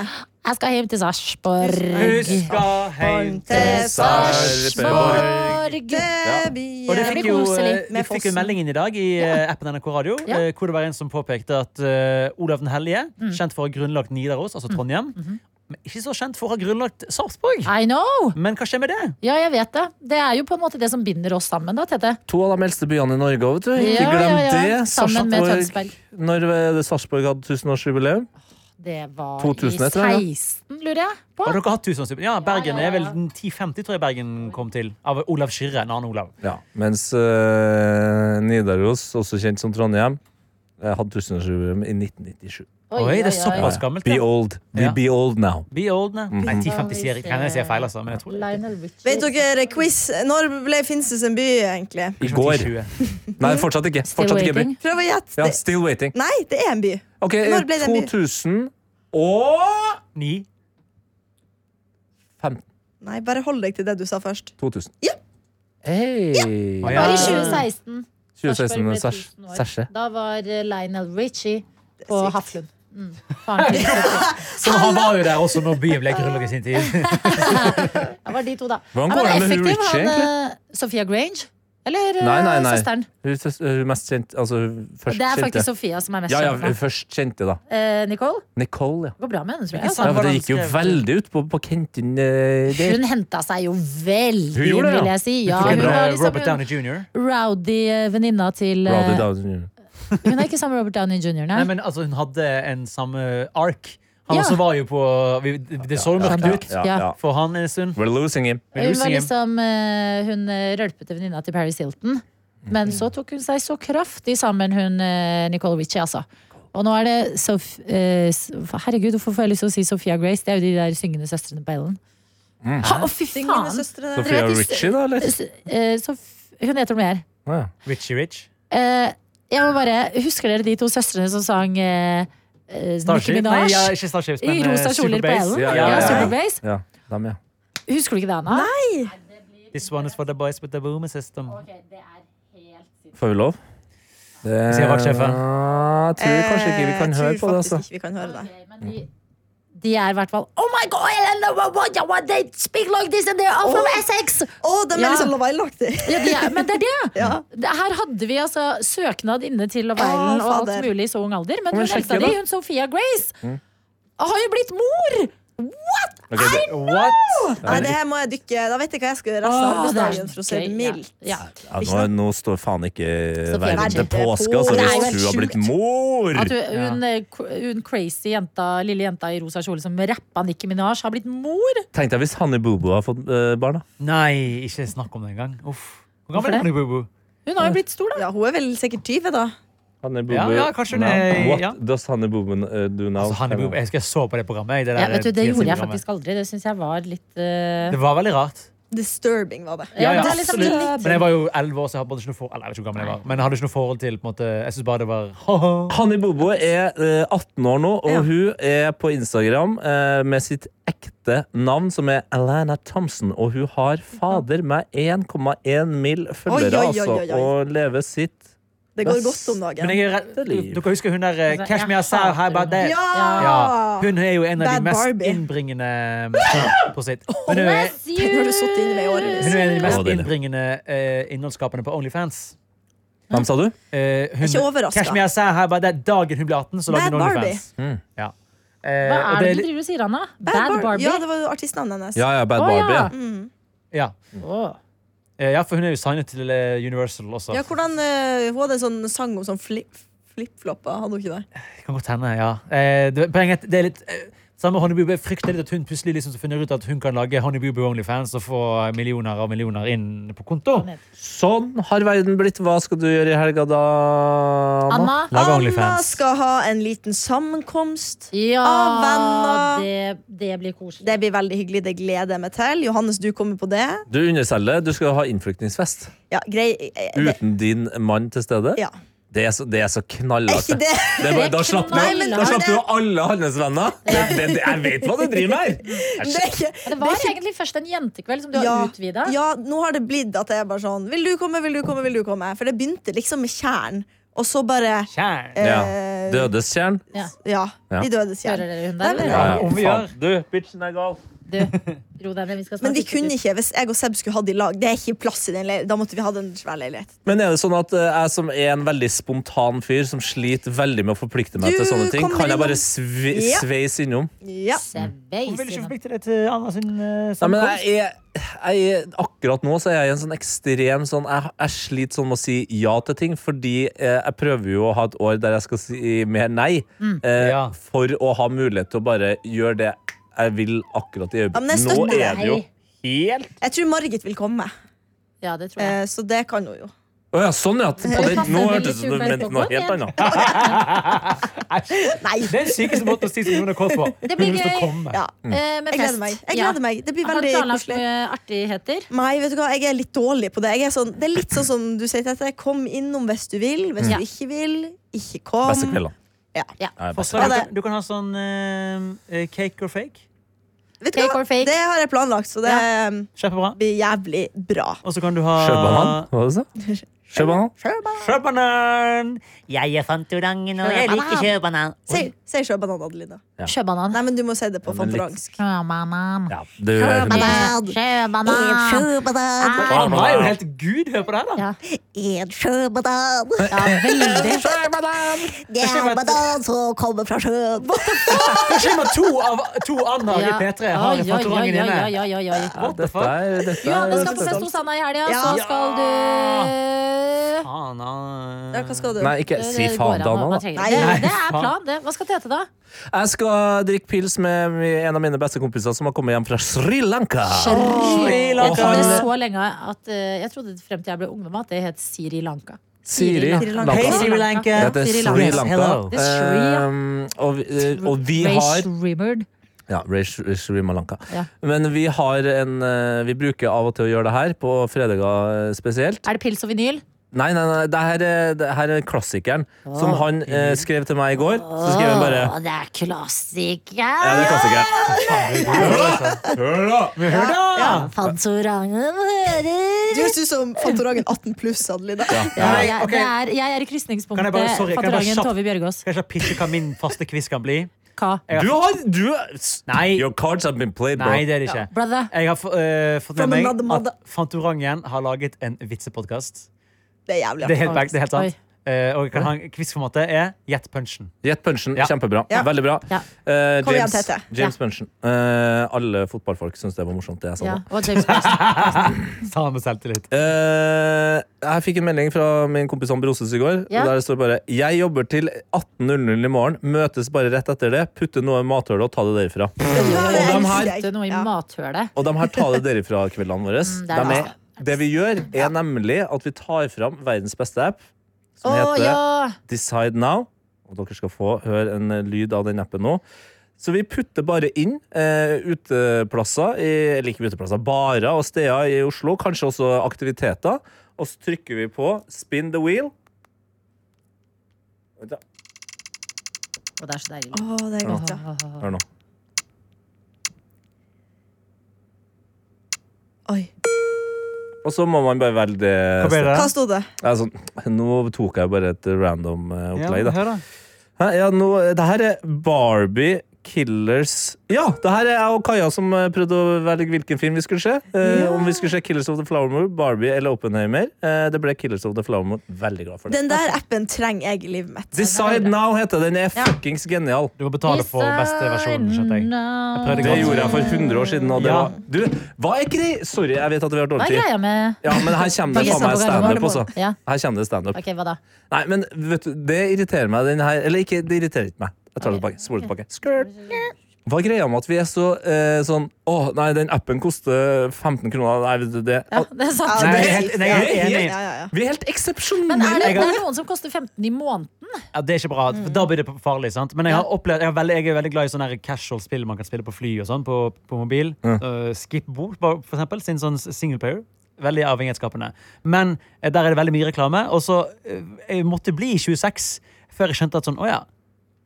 Jeg skal hjem til Sarpsborg.
Huska heim
til
Sarpsborg.
Det
Og det
blir
fikk
blir
jo,
koselig
eh, vi
med
fikk jo
fossen.
meldingen i dag i eh, appen NRK Radio,
Ja. Mm.
eh, hvor det var en som påpekte at eh, Olav den hellige, kjent for å ha grunnlagt Nidaros, altså Trondheim,
Mm-hmm.
men ikke så kjent for å ha grunnlagt Sarpsborg.
I know!
Men hva skjer med det?
Ja, jeg vet det. Det er jo på en måte det som binder oss sammen, da, Tete.
To av de eldste byene i Norge òg, vet du. Ikke
Ja, ja,
glem
ja.
det.
Sammen med
Sarpsborg-
Tønsberg.
Når eh, Sarpsborg hadde tusenårsjubileum.
Det var
2000 etter, ja.
i 16, lurer jeg på.
Har dere hatt tusenårssuppe? Ja, Bergen
ja, ja.
er vel den 1050, tror jeg Bergen kom til. Av Olav Skirre, en annen Olav.
Ja. Mens eh, Nidaros, også kjent som Trondheim, eh, hadde tusenårsjubileum i 1997.
Oi, det er
oi.
såpass gammelt.
Be
ja.
old. We
Ja.
be old now.
Be old, nei.
Mhm.
Nei, 1050 sier jeg. Kan jeg si feil, altså? Men jeg tror det.
Lionel Richie.
Vet dere, quiz, når ble Finnsnes en by, egentlig?
I går.
1020.
Nei, fortsatt ikke. Fortsatt ikke by.
waiting.
Prøv å gjette.
Ja,
Det-
still waiting.
Nei, det er en by.
Ok, eh,
Når ble den by?
2000 og
Ni.
15.
Nei, bare hold deg til det du sa først.
2000.
Ja.
Hey.
Å,
Det var i
ja.
2016. Sarpsborg
2016
ble
med Sæsj.
1000 år.
Sæsje.
Da var eh, Lionel Richie på
sykt.
Haflund. Mm. Faren til
Så han var jo der også når byen ble grunnlag i sin tid.
Det var de to, da. Ja, men
Hvordan går det med hun
effektiv,
Richie,
han, eh, Sophia Grange? Eller eh,
Nei, nei, nei.
søsteren?
Hun søs- hun mest kjente Altså, hun først
Det er faktisk
kjente.
Sophia som er mest
Ja, ja,
kjent. for.
først kjente, da.
Eh, Nicole?
Nicole, ja.
Det går bra med henne, tror jeg.
Ikke
altså.
sant?
ja for det
hvordan
gikk jo
skrev du?
veldig ut på, på Kentin eh, der.
Hun henta seg jo veldig
Hun gjorde det, ja.
vil jeg si. Ja,
*laughs* Tok en,
hun var
eh, Robert
liksom
Downey jr.
en rowdy eh, venninna til eh,
Brother Downey Jr.
*laughs* Hun er ikke sammen med Robert Downey jr., nei.
Nei, men altså, hun hadde en samme ark. Han
Ja.
også var jo på vi, Det så jo mørkt
ja,
ut
ja.
for han en stund.
We're losing him.
Men
Hun
losing
var
him.
liksom eh, Hun eh, rølpete venninna til Paris Hilton. Men så tok hun seg så kraftig sammen, hun eh, Nicole Ritchie, altså. Og nå er det Sof eh, S- Herregud, hvorfor får jeg lyst til å si Sophia Grace? Det er jo de der syngende søstrene på Ellen.
Mhm.
Ha, å, fy
Mine
faen!
søstre der.
Sophia Ritchie, da, eller?
S- eh, Sof- hun heter noe mer.
Å, ja.
Richie Rich.
Eh, jeg må bare, Husker dere de to søstrene som sang eh, eh, Nicki
Starship? Nei,
Minaj?
ja, ikke Starships, men
I rosa
eh,
kjoler på
Superbase.
Ellen?
Ja,
ja,
ja, ja.
Superbass.
ja. Dem, ja.
Husker du ikke det, Anna?
This one is for the boys with the boomer system.
Får vi lov? Det
Sier vaktsjefen.
Jeg tror kanskje ikke vi kan
Eh,
høre
jeg tror
på det,
faktisk
altså.
Ikke vi kan høre det.
Men de, Mm. de er i hvert fall Oh my god, I don't know what, what they speak like this and they're all from
Åh.
Essex!
Å, de er
Ja.
liksom Love Island-aktig.
Ja, de er, men det er det!
*laughs* Ja.
Det- Her hadde vi altså søknad inne til Love
Åh,
Island og alt
fader.
mulig i så ung alder, men
Kom,
hun
sjekk
nekta
det,
de,
da.
hun Sophia Grace.
Mm.
Har jo blitt mor! What?!
Ok, det,
What?
Nei, det her må jeg dykke Da vet jeg hva jeg skal gjøre resten av
Åh, det er
arbeidsdagen, for å si
gøy,
det
ja,
mildt.
ja.
ja, nå, nå står faen ikke verden
Ritchie.
til påske, altså,
Det er jo
helt
hvis du har blitt
sjukt.
mor!
At hun, hun, eh, k- hun crazy jenta, lille jenta i rosa kjole som rappa Nicki Minaj, har blitt mor!
Tenkte jeg hvis Hanni Bobo har fått eh, barn, da.
Nei, ikke snakk om det engang. Uff. Hvor
Hvorfor
gammel er
det?
hun, Bubu?
Hun har jo blitt stor, da.
Ja, hun er vel sikkert 20, da.
Hanne
Ja, ja, kanskje hun
Now.
er-
What
ja.
does Hanne Bobo eh, do now?
Altså, Hanne Bubu, jeg husker jeg så på det programmet. jeg, Det,
Ja,
der
vet du, det gjorde jeg
programmet.
faktisk aldri. Det syns jeg var litt eh,
Det var veldig rart.
Disturbing, var det.
Ja,
Ja,
det
ja,
er liksom
absolutt.
litt-
Men jeg var jo 11 år, så jeg hadde ikke noe forhold Eller jeg vet ikke hvor gammel jeg var Men jeg hadde ikke noe forhold til på en måte Jeg synes bare det var
Hanni Bobo er eh, 18 år nå, og hun er på Instagram eh, med sitt ekte navn, som er Alana Thompson. Og hun har fader meg 1,1 mill. følgere,
Oi, oi, oi,
altså,
oi, oi.
og lever sitt
Det går godt om dagen.
Men jeg er redd
liv.
Dere husker hun der eh,
Altså,
Cash me
jeg
outside,
hater
how about that?
Ja!
Ja, Hun er jo en av
Bad
de mest
Barbie.
innbringende På sitt Hun er,
Bless you!
Nå har du sittet inne med i årevis.
hun er en av de
Å,
mest
denne.
innbringende eh, Innholdsskapene på Onlyfans
Hvem sa du?
Eh, hun,
Ikke overrasket.
Cash me outside, how about that? Dagen hun ble 18 Så lagde
Bad
hun Onlyfans
Mm.
ja. Eh,
Hva
og
er det
det-
du driver og sier, Anna? Bad,
Bad Bar-
Barbie?
Ja, det var jo artistnavnet hennes.
Ja, ja, Bad
Å,
Barbie.
ja.
ja.
ja.
Åh.
Eh, ja, for hun er jo signet til eh, Universal også
Ja, hvordan eh, Hun hadde en sånn sang om sånn flip flipflopper, hadde hun ikke det?
Det kan godt hende, ja. Eh, det, poenget er at det er litt eh, Samme Honeybubbe jeg frykter litt at hun plutselig liksom finner ut at hun kan lage Honeybubbe Onlyfans og få millioner og millioner inn på konto.
Sånn har verden blitt. Hva skal du gjøre i helga, da?
Anna?
Lage
Anna
Onlyfans.
skal ha en liten sammenkomst.
Ja,
Av venner.
det, det blir koselig.
Det blir veldig hyggelig. Det gleder jeg meg til. Johannes, du kommer på det.
Du underselger. Du skal ha innflyktningsfest
Ja, grei, eh, det,
uten din mann til stede.
ja.
Det er så, det er så
Er
knallhardt.
ikke det
Det er bare, da slapp du,
Nei, men-
da slapp du jo alle hans venner. Det, det, det, jeg vet hva du driver med her!
Det er ikke
Det var egentlig først en jentekveld som du
ja,
har utvida.
ja, nå har det blitt at jeg er bare sånn Vil du komme, vil du komme, vil du komme? For det begynte liksom med tjern, og så bare
Kjern.
eh,
Ja. Dødestjern.
Ja.
Ja,
Ja.
de dødes
Hører
tjern.
dere hun
Nei,
der?
men-
eller?
Ja,
ja. Om vi gjør.
Faen, Du, bitchen er gal.
Du, ro deg ned. Vi skal snart
Men vi
ut på
kunne
tur.
ikke, hvis jeg og Seb skulle hatt i lag Det er ikke plass i den leiligheten. Da måtte vi hatt en svær leilighet.
Men er det sånn at eh, jeg som er en veldig spontan fyr, som sliter veldig med å forplikte meg
Du
til sånne ting,
kommer
kan jeg bare
innom.
svi,
Ja.
sveise innom?
Ja.
Hun vil
Sveis
ikke
innom.
forplikte deg til Anna sin eh,
Nei, men
sammenkomst.
jeg er, jeg er, akkurat nå så er jeg i en sånn ekstrem sånn jeg, jeg sliter sånn med å si ja til ting, fordi eh, jeg prøver jo å ha et år der jeg skal si si mer nei.
Mm.
eh,
Ja.
For å ha mulighet til å bare gjøre det jeg vil akkurat i
Ja, men jeg
øyeblikket. Nå
støtter
er
deg.
det jo helt
Jeg tror Margit vil komme,
Ja, det tror jeg.
eh, så det kan hun jo.
Å ja, sånn, ja. På
Det
den,
passer veldig
nå
Sånn.
hørtes det ut som du
supert
mente
på
noe
kongen.
helt annet.
Nei!
Det er den sykeste måten å si sin under kort på.
Det blir
Hun har lyst til å
gøy.
komme.
Ja.
Eh, med
Jeg
fest.
gleder meg. Jeg
Ja.
gleder meg. Det blir
Har du
veldig
planlagt
koselig.
mye artigheter?
Nei, vet du hva, jeg er litt dårlig på det. Jeg er sånn, det er litt sånn som du sier til dette. Kom innom hvis du vil. Hvis
Ja.
du ikke vil, ikke kom.
Beste kveldene.
Ja.
Ja.
Nei, beste.
Forslag, du, kan, du kan ha sånn eh, cake or fake.
Vet du
Cake
hva?
or fake?
Det har jeg planlagt, så det um,
Kjempebra.
blir jævlig bra.
Og så kan du ha
Sjøbanan? Hva var det du sa? Sjøbanan?
Sjøbanan! Jeg er Fantorangen, og jeg liker sjøbanan.
Si si sjøbanan, Adelina.
Ja.
Sjøbanan.
Nei, men du må si det på
men litt-
fantoransk.
Sjøbanan.
Ja, du er
Sjøbanan.
Sjøbanan.
Sjøbanan.
Han er jo helt gud. Hør på det her, da.
Ja.
En sjøbanan.
Ja, veldig.
Det er en banan som kommer fra sjøen.
Det kommer to av to andager i
Ja.
P3 har
Oi,
en
oi, oi,
Fantorangen inne.
oi, oi, oi, oi.
Ja, dette er, dette
Johanne
er
skal på fest hos Anna i helga,
Ja.
så skal du
Faen, han-
sånn.
Ja, hva skal du?
Nei, ikke si
Det
faen
går
til
an,
Anna,
man
da.
trenger
Nei,
ikke.
nei,
Det er
faen.
plan, det. Hva skal Tete, da?
Jeg skal drikke pils med en av mine beste kompiser som har kommet hjem fra Sri Lanka.
Sri
Lanka.
Jeg trodde så lenge at eh, Jeg trodde frem til jeg ble ungdom at det het Sri Lanka.
Siri Lanka.
Hei, Sri Lanka.
Det heter Sri Lanka.
Hello.
Det er Sri, ja.
Um, og, vi- og vi
Ray
har
Shrimmered.
Ja, Ray Sh- Sri Malanka.
Ja.
Men vi har en eh, Vi bruker av og til å gjøre det her, på fredager eh, spesielt.
Er det pils og vinyl?
Nei, nei, nei, det her er, det her er klassikeren som han eh, skrev til meg i går. Så skrev han bare
Å, det er klassiker!
Ja, det er klassikeren.
Ja.
Fantorangen hører!
Du høres ut som fantorangen 18 pluss, Adelina.
Ja,
Nei,
jeg,
ok.
det er, jeg er i
Kan jeg bare-
krysningspunktet.
sorry, kan jeg bare
Fantorangen
kjapt-
Tove Bjørgaas.
Skal jeg ikke pitche hva min faste quiz kan bli?
Hva?
Du har du,
Nei.
Your cards have been played, bro.
Nei, det er det ikke.
Brother.
Jeg har f- eh, fått
From
med
another
meg
mother.
at Fantorangen har laget en vitsepodkast.
Det er jævlig
Det er
artig.
helt, back, det er helt sant.
Oi.
Eh, og jeg kan ha en quizformatet er Gjett punchen.
Gjett punchen.
Ja.
Kjempebra.
Ja.
Veldig bra.
Ja.
Eh,
Kom igjen,
James,
Tete.
James
Ja.
Punchen. Eh, alle fotballfolk syns det var morsomt, det jeg sa
Ja,
nå.
og James Bond.
Sa han med selvtillit.
Eh, jeg fikk en melding fra min kompis Amber Roses i går.
Ja.
Der det står bare 'Jeg jobber til 18.00 i morgen. Møtes bare rett etter det. Putte noe i mathølet og ta det derifra'.
Ja, det
Og de
elsker
her-
jeg.
Det er noe i
Ja.
mathølet.
Og de her ta det *laughs* derifra-kveldene våre
Mm, det er
de
det.
er, Det vi gjør, er nemlig at vi tar fram verdens beste app, som
Å
heter
ja!
Decide Now. Og dere skal få høre en eh, lyd av den appen nå. Så vi putter bare inn eh, uteplasser, i, eller ikke uteplasser, barer og steder i Oslo, kanskje også aktiviteter, og så trykker vi på spin the wheel. Vent da,
Å, det er så deilig.
Å, det er godt, ja.
Hør nå.
Oi.
Og så må man bare velge det.
Hva ble det?
Hva sto det?
Ja, sånn, nå tok jeg bare et random eh,
Ja,
opplegg, da.
hør da.
Hæ? Ja, nå, det her er Barbie Killers Ja, det her er jeg og Kaja som eh, prøvde å velge hvilken film vi skulle se. Eh, Om vi skulle se Killers of the Flower Moon, Barbie eller Oppenheimer. Eh, det ble Killers of the Flower Moon. Veldig glad for det.
Den der appen trenger jeg i livet mitt.
Decide Now heter den. Den er fuckings genial.
Du må betale for beste versjonen, skjønte jeg. Jeg prøvde
Det
godt.
gjorde jeg for 100 år siden. Og det
Ja.
var, du, hva er grei? Sorry, jeg vet at vi har
Hva er
dårlig tid.
greia med
Ja, men her kommer det faen meg standup, altså.
Ja.
Her kommer det standup.
Ok, hva da?
Nei, men vet du, det irriterer meg den her Eller ikke, det irriterer ikke meg. Jeg tar det tilbake. Spoler det tilbake. Skrrt. Hva er greia med at vi er så eh, sånn Å, nei, den appen koster 15 kroner. Nei, vet du det
Ja, det er sant.
Nei,
Ja, det
jeg er
er
helt-
sykt.
nei, jeg er
Ja,
enig.
ja, ja, ja.
Vi er helt
Men
eksepsjonelle!
er det,
Jeg
det
har-
er noen som koster 15 i måneden?
Ja, det er ikke bra. for Da blir det farlig. sant? Men jeg, har opplevd, jeg, er veldig, jeg er veldig glad i sånne her casual spill man kan spille på fly og sånn, på, på mobil. Uh, Skipbord, for for eksempel. Sin sånn singleplayer. Veldig avhengighetsskapende. Men eh, der er det veldig mye reklame. Og så eh, jeg måtte bli 26 før jeg skjønte at sånn, å ja,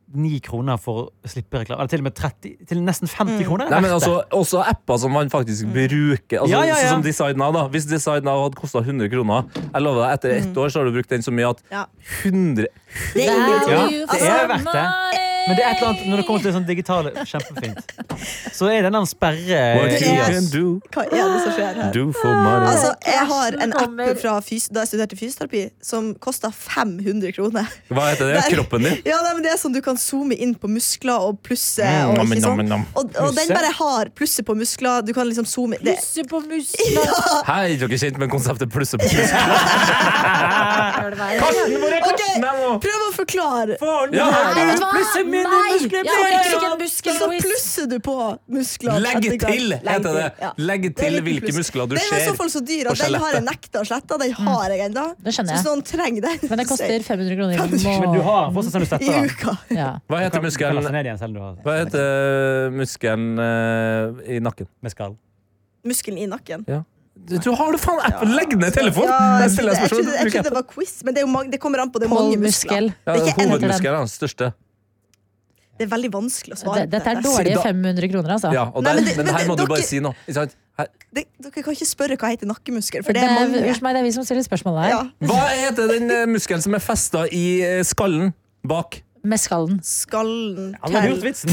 9 kroner for å slippe reklame. Eller til og med 30, til nesten 50 kroner. er
Nei, men
verdt det.
altså, Også apper som man faktisk bruker. Altså,
Ja, ja, ja.
Sånn som Decide Now, da. Hvis Decide Now hadde kosta 100 kroner Jeg lover deg, etter ett år så har du brukt den så mye at
Ja.
100
Det er Altså,
Value
ingenting.
Ja, det
for
er verdt det.
money.
Men det er et eller annet når det kommer til det sånn digitale Kjempefint. Så er det den sperre...
What you
er-
can do,
Hva er det som skjer her?
do for money.
Altså, jeg har en app
Kommer.
fra fys da jeg studerte fysioterapi, som kosta 500 kroner.
Hva heter det?
Der-
Kroppen din?
Ja, nei, men Det er sånn du kan zoome inn på muskler og plusse.
Mm,
Og,
nam,
ikke
nam,
sånn.
nam.
og, og den
Plusse?
bare har plusset på muskler. Du kan liksom zoome det,
Plusse på muskler.
Her er dere kjent med konseptet plusse på plusse.
Gjør det verre.
Karsten, hvor er Karsten her nå?
Prøv å forklare!
Faen,
Ja.
her
Nei, vet
er
du hva?
plutselig mine
Nei,
muskler
jeg
blir-
orker ikke en
Så
muskelquiz.
plusser du på muskler.
Legg
etter hvert.
til, heter det.
ja.
Legg
Det er
til
litt
hvilke
pluss.
muskler du
Den var i
ser.
så fall så dyr
på
at den har
skjelettet. Mm.
jeg nekta å slette. Den har jeg ennå.
Det skjønner
Så
jeg.
hvis noen trenger den,
Men det koster 500 kroner i
Men du
måneden.
har fortsatt sånn du
*laughs* i
*laughs* setter den.
uka.
Ja.
Hva heter muskelen
ned igjen selv om du har
Hva heter muskelen eh, i nakken?
med skall.
Muskelen i nakken.
Du, du har det faen appen! Legg ned telefonen!
Ja,
Der
jeg
stiller
trodde,
jeg
jeg, trodde, jeg
spørsmål.
trodde det var quiz, men det, er jo mange, det kommer an på. Det er mange muskler.
Polmuskel.
Ja,
det er ikke en-
hovedmuskelen er den største.
Det er veldig vanskelig å svare
Det-
på
Dette er
dette.
dårlige
da-
500 kroner, altså.
Ja, og
Nei,
der,
men det-
men
men
her
det-
må du bare
dere-
si noe. Ikke sant? Her.
Det, dere kan ikke spørre hva heter nakkemuskel, for
Det
det er
er,
mange.
unnskyld meg, det er vi som stiller spørsmål her.
Ja.
Hva heter den eh, muskelen som er festa i eh, skallen bak?
Med skallen.
Skallen
Alle har
til
gjort vitsen.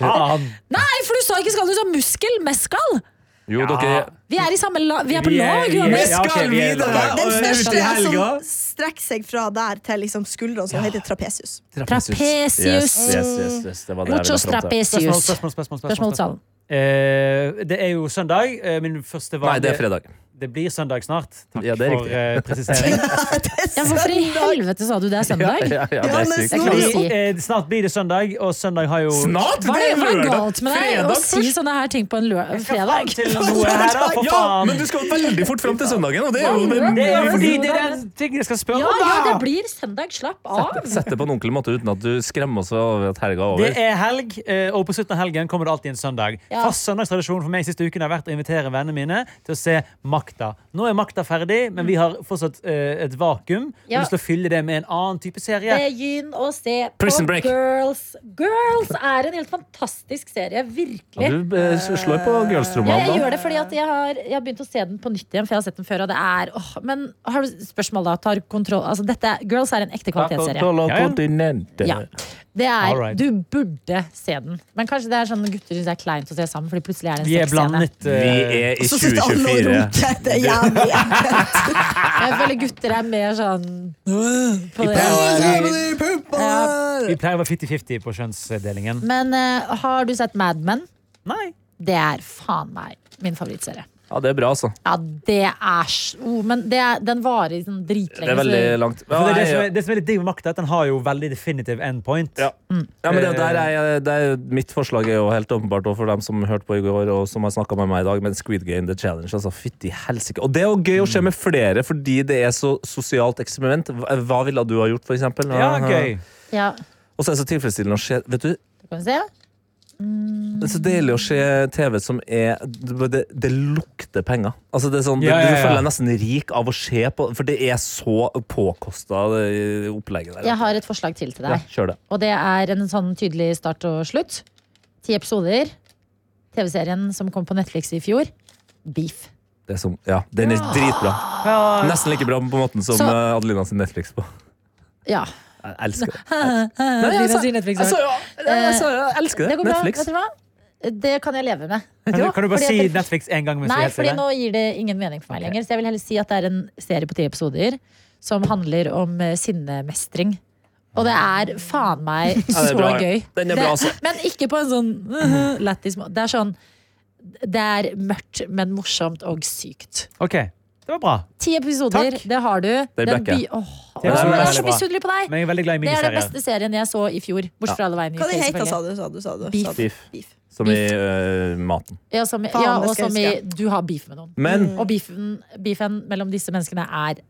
Faen.
Nei, for du sa ikke skall, du sa muskel med skall!
Jo, dere
Vi er i samme la... Vi er på
Vi er-
lag,
vi er-
Johannes.
Ja, ok, vi er-
videre!
Den
Og
største
ut i
er
helga.
som strekker seg fra der til liksom skuldrene, som heter trapesius.
Trapesius.
Yes, yes, yes, yes. Det var det jeg ville
Muchos
fram til.
Spørsmål,
trapesius.
spørsmål, spørsmål. spørsmål,
Spørsmål
spørsmål.
salen.
Eh, det er jo søndag. eh, Min første
Nei,
vanlige
det er
*laughs*
fredag.
Det blir søndag snart. Takk
Ja, *laughs* det er
for
riktig.
eh, presisering.
Ja, hvorfor i helvete sa du det er søndag?
Ja, ja, det er
Johannes,
sykt.
Jeg klarer
Fordi,
å si.
eh, snart blir det søndag, og søndag har jo
Snart!
Hva
Det
er,
er
hva er
lørdag!
galt med deg å
Fredag
si sånne her ting på en lø
Fram
fredag?
til noe her, da, for
Ja, men
faen!
du skal veldig fort fram til søndagen, og det er jo
Det er jo
for-
men-
fordi det er den tingen jeg skal spørre
Ja,
om,
ja, det
da!
blir søndag. Slapp av.
Sett det på en ordentlig måte uten at du skremmer oss over at helga er
Det
over.
er helg, eh, og på slutten av helgen kommer det alltid en søndag.
Ja.
Fast søndagstradisjon for meg siste uken har vært å invitere vennene mine til å se Makta. Nå er Makta ferdig, men vi har fortsatt eh, et vakuum. Vi
Ja.
har lyst til å fylle det med en annen type serie.
Begynn å se på
Prison Break.
Girls. Girls er en helt fantastisk serie. Virkelig.
Ja, du eh, slår på
Ja, jeg
girls-romanen, da.
gjør det fordi at jeg har, jeg har begynt å se den på nytt igjen. For jeg har sett den før, og det er åh, Men har du spørsmål, da? Tar kontroll altså, dette, Girls er en ekte kvalitetsserie.
Coca-Cola
Ja, ja.
Continente.
Ja. Det
All
er,
right.
du burde se den. Men kanskje det er sånn gutter syns det er kleint å se sammen. Fordi plutselig er det
Vi er
en sexscene.
blandet. eh,
i
Så sitter alle og runker. Det er jævlig.
Jeg føler gutter er mer sånn på det.
Jævlig pupper!
Vi pleier å være 50-50 på kjønnsdelingen.
Men eh, har du sett Mad Men?
Nei.
Det er faen meg min favorittserie.
Ja, det er bra, altså.
Ja, det er s- oh, Men det er, den varer i sånn dritlenge.
Det er veldig
så-
langt.
For det, er det, som
Ja,
er, det som er litt digg med makta, er at den har jo veldig definitive endpoint.
Ja. Ja, men det, der er, jeg- det er, jo- mitt forslag er jo helt åpenbart og for dem som hørte på i går og som har snakka med meg i dag, men Squid Game The Challenge. Altså, Fytti helsike. Og det er jo gøy å se med flere, fordi det er så sosialt eksperiment. Hva hva ville du ha gjort, for eksempel?
Ja, gøy.
Ja,
Og så er det så tilfredsstillende å se Vet du,
du kan se.
det er så deilig å se TV som er Det, det, det lukter penger. Altså, det er sånn,
Ja, ja,
Du, du
ja.
føler deg nesten rik av å se på, for det er så påkosta opplegget der.
Jeg har et forslag til til
ja,
deg.
kjør det.
Og det er en sånn tydelig start og slutt. Ti episoder. TV-serien som kom på Netflix i fjor. Beef.
det er som, ja, den er dritbra.
Ja,
Nesten like bra på måten som
Så-
eh, Adelina sin Netflix på.
Ja.
Jeg elsker det. Eh,
Adelina sier Netflix, ja.
jo- jeg sa jo- jeg elsker
Det går bra.
altså, Netflix.
Vet du hva? Det kan jeg leve med.
Kan du, kan du bare
Fordi
si
at det-
Netflix en gang? mens vi
Nei,
helt
fordi
stille?
nå gir det ingen mening for meg lenger. Så jeg vil heller si at det er en serie på ti episoder som handler om eh, sinnemestring. Og det er faen meg
Ja,
så
det er bra, ja.
gøy.
Den er
Det-
bra, altså.
Men ikke på en sånn uh, *laughs* lættis må- Det er sånn Det er mørkt, men morsomt og sykt.
Ok, det var bra.
Ti episoder,
Takk.
det har du.
Den
Den
backer
by-
jeg.
Åh, altså,
Det er
jeg er
veldig
så
bra.
misunnelig på deg!
Men jeg er veldig glad i
Det er den
miniserier.
beste serien jeg så i fjor. Bortsett fra alle veiene.
Hva det
UK,
heter
selvfølgelig.
sa du? Sa du, sa du,
Beef.
sa du.
Beef.
Beef.
Som i eh, maten. Mm.
Ja, som, i-
Faen,
ja,
det
og
skal
som
jeg
i du har beef med noen.
Men
Og beefen, beefen mellom disse menneskene er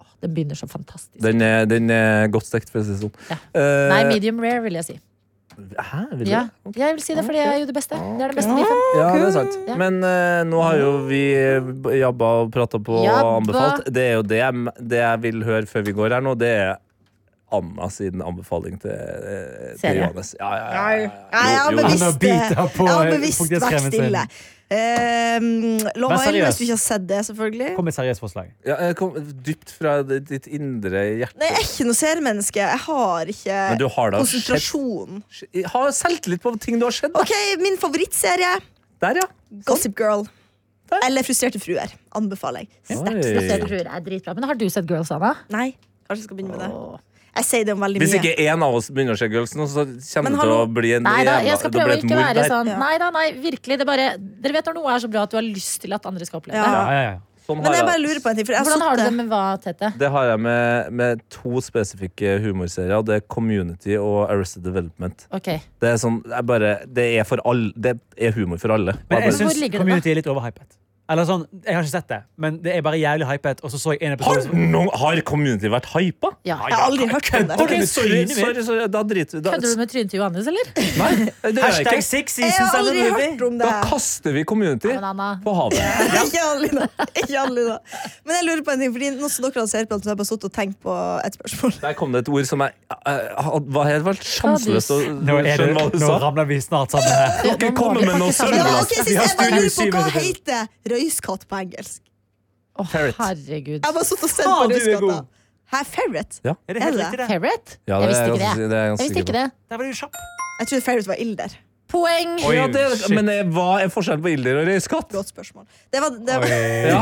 åh, Den begynner så fantastisk.
den er, den er godt stekt, for å si det sånn.
Ja.
Eh,
Nei, medium rare, vil jeg si.
Hæ, vil du?
Ja,
det?
jeg vil si det, for det er jo det beste. Det er det beste beefen.
Ja, det er sant.
Ja.
Men eh, nå har jo vi eh, jabba og prata på og
Jabba.
anbefalt. Det er jo det jeg, det jeg vil høre før vi går her nå, det er Anna sin anbefaling til, eh, til
Serie.
Johannes. Ja, ja, ja, ja, ja.
Nei, jeg har
Jo, jo.
Han
bevisst,
har biter på,
jeg har
eh,
bevisst
fuktighetskremen
vært
sin.
stille. Eh, Love
Vær
Island,
seriøs.
hvis du ikke har sett det, selvfølgelig.
Kom med et seriøst forslag.
Ja, jeg kom dypt fra ditt indre hjerte.
Nei, jeg er ikke noe sermenneske. Jeg har ikke
Men du har da
konsentrasjon.
Ha selvtillit på ting du har sett. da.
Ok, Min favorittserie
Der, ja.
Gossip Girl.
Der.
Eller Frustrerte fruer. Anbefaler jeg. Sterkt.
Oi.
Jeg tror det er dritbra. Men har du sett Girls, Anna?
Nei, kanskje jeg skal begynne med det. Jeg sier det om veldig
Hvis
mye.
ikke én av oss begynner å se Girls nå, så kommer
Men
det til å
hallo.
bli en
Nei da,
jævla-
jeg skal
det blir
prøve å
et
ikke
mord
være
der.
sånn.
Ja.
Nei da, nei, virkelig. Det er bare, dere vet når noe er så bra at du har lyst til at andre skal oppleve
Ja.
det.
Ja, ja, ja.
Sånn har
Men jeg
jeg-
bare lurer på en ting. For jeg har
Hvordan har du det
sittet-
med hva, Tete?
Det har jeg med, med to spesifikke humorserier. og Det er Community og Arrested Development.
Ok,
Det er sånn, jeg bare, det er, for all, det er humor for alle.
Men
Jeg
jeg
bare-
Hvor
syns
ligger det da?
community er litt overhypet. Eller sånn, Jeg har ikke sett det, men det er bare jævlig hypet. Og så så jeg en
har,
episode som-
noen, har Community vært hypa?
ja.
Jeg har aldri hørt om det.
Kødder
Ok,
du?
sorry, sorry, sorry, da driter vi da,
Kødder du med trynet til Johannes, *laughs* eller?
Nei, det gjør jeg
Hashtag
ikke.
six
Jeg
seasons
har
of the
aldri
movie.
hørt om det.
Da kaster vi Community
Ja, men Anna.
på havet.
Ikke Alina. Ikke Alina. Men jeg lurer på en ting, fordi nå som dere har ser på, så har jeg bare sittet og tenkt på et spørsmål.
Der kom det et ord som jeg, eh, jeg, jeg var helt var sjanseløst å
Nå, er det,
skjønne hva du
nå
sa.
ramler vi snart sammen her.
Nå- nå
kommer
må vi
med noe
faktisk ha det.
sølv,
Ja,
Jonas. Vi
ok, sist,
har
Jeg bare
studio
lurer på
syv
hva
minutter.
heter røyskatt på engelsk?
Å, herregud.
Jeg har bare sittet og sett
Ah,
på
du er
røyskatta.
god.
Hæ, ferret?
Ja.
Er det helt
Er det?
riktig, det?
Ferret? jeg
Ja, det er
visste
jeg
ikke
ganske-
det.
det er
Jeg
jeg ganske
visste
sikker
ikke det.
Der var du kjapp.
Jeg trodde ferret var ilder.
Poeng!
Oi.
Ja, det,
Shit.
men eh, hva er forskjellen på ilder og røyskatt?
Godt spørsmål. Det var, det var,
Ja,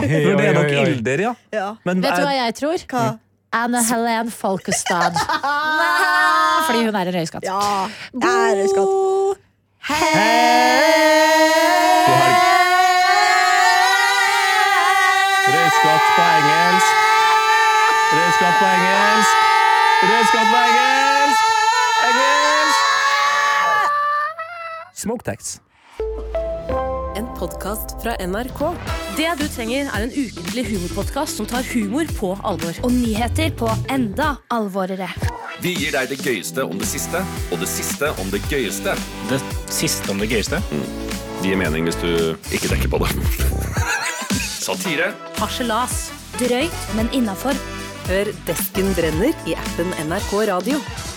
for det er nok
Oi, oi, oi.
ilder, ja.
ja.
Men eh,
Vet du hva
jeg,
jeg tror?
Hva?
Anne Helen Folkestad. Nei, Fordi hun er en røyskatt.
Ja, jeg er røyskatt.
God helg. Røyskatt på engelsk. Røyskatt på engelsk. Røyskatt på engelsk. Engelsk. Smoke tax.
En podkast fra NRK. Det du trenger, er en ukentlig humorpodkast som tar humor på alvor.
og nyheter på enda alvorere.
Vi gir deg det gøyeste om det siste, og det siste om det gøyeste. Mm.
det siste om det gøyeste.
Det gir mening hvis du ikke tenker
*laughs*
på det. Satire.
Harselas.
Drøyt, men innafor.
Hør Desken brenner i appen NRK Radio.